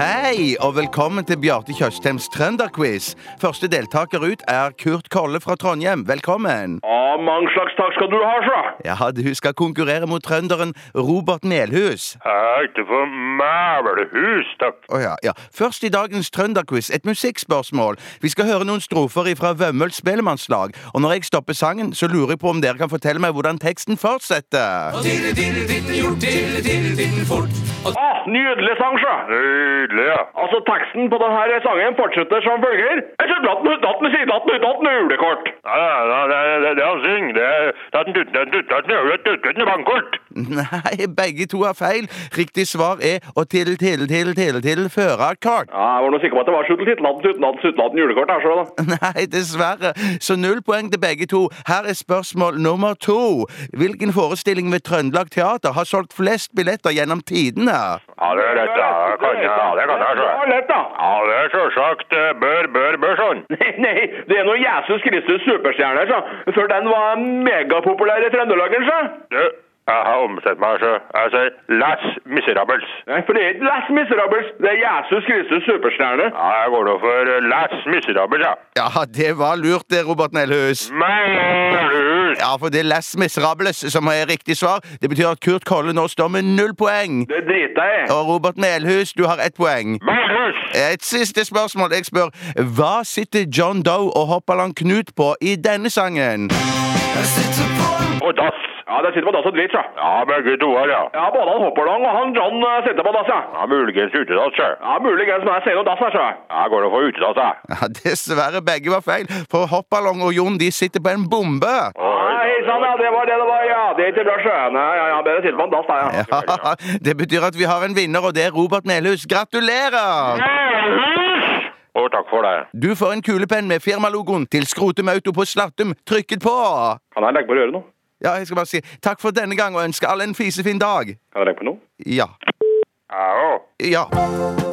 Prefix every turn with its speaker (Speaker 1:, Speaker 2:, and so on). Speaker 1: Hei, og velkommen til Bjarte Tjøstheims trønderquiz. Første deltaker ut er Kurt Kolle fra Trondheim. Velkommen.
Speaker 2: Ja, mange slags takk skal du ha, så.
Speaker 1: Ja, du skal konkurrere mot trønderen Robert Melhus.
Speaker 2: Jeg ikke for mævelhus, takk.
Speaker 1: Å ja, ja. Først i dagens trønderquiz et musikkspørsmål. Vi skal høre noen strofer fra Vømmøl spellemannslag. Og når jeg stopper sangen, så lurer jeg på om dere kan fortelle meg hvordan teksten fortsetter.
Speaker 3: Og dirre, dirre, ditten, gjort dirre, dirre, ditten fort. Og
Speaker 2: Å, nydelig sang, så. Nydelig, ja. Altså, teksten på denne sangen fortsetter som følger. Jeg tror datten, datten, sier datten, datten, julekort. Ja, ja, det er det han synger. Det er datten, datten, datten, datten, datten, datten, bankkort.
Speaker 1: Nei, begge to er feil. Riktig svar er å til, til, til, til, til førerkort.
Speaker 2: Ja, jeg var nå sikker på at det var suttel, tittel, datten, suttel, julekort her, så da.
Speaker 1: Nei, dessverre. Så null poeng til begge to. Her er spørsmål nummer to. Hvilken forestilling ved Trøndelag Teater har solgt flest billetter gjennom tidene?
Speaker 2: Ja, det er lett, ja. Det kan jeg, ja, det kan jeg, så. Det er lett, da. Ja, det er selvsagt eh, bør, bør, bør sånn. Nei, det er noe Jesus Kristus superstjerne, så. For den var megapopulær i Trøndelagen, så. Du, jeg har omsett meg, så. Jeg sier Les Miserables. Nei, for det er ikke Les Miserables, det er Jesus Kristus superstjerne. Ja, jeg går nå for eh, Les Miserables, ja.
Speaker 1: Ja, det var lurt det, Robert Melhus.
Speaker 2: Melhus!
Speaker 1: Ja, for det er Les Miserables som er riktig svar. Det betyr at Kurt Kolle nå står med null poeng.
Speaker 2: Det driter jeg i.
Speaker 1: Og Robert Melhus, du har ett poeng.
Speaker 2: Melhus!
Speaker 1: Et siste spørsmål. Jeg spør hva sitter John Doe og Hoppaland Knut på i denne sangen?
Speaker 3: jeg sitter på en
Speaker 2: Og dass. Ja, det sitter på dass og drit, så. Ja, begge to her, ja. Ja, både han Hopperlang og han John eh, sitter på dass, ja. Ja, muligens utedass, så. Ja, muligens, men jeg sier noe dass her, så. Ja, går det for utedass, jeg.
Speaker 1: Ja, dessverre, begge var feil, for Hoppaland og Jon de sitter på en bombe.
Speaker 2: Nei, sann, ja, det var det det var, ja. Det er ikke bra, så. Nei, ja, ja, bedre sitte på en dass, da, ja.
Speaker 1: Ja, det betyr at vi har en vinner, og det er Robert Melhus. Gratulerer!
Speaker 2: Og takk for det.
Speaker 1: Du får en kulepenn med firmalogoen til Skrotum Auto på Slattum trykket på.
Speaker 2: Kan jeg legge på røret nå?
Speaker 1: Ja, jeg skal bare si takk for denne gang og ønske alle en fisefin dag.
Speaker 2: Kan jeg legge på nå?
Speaker 1: Ja.
Speaker 2: Ja,
Speaker 1: Ja.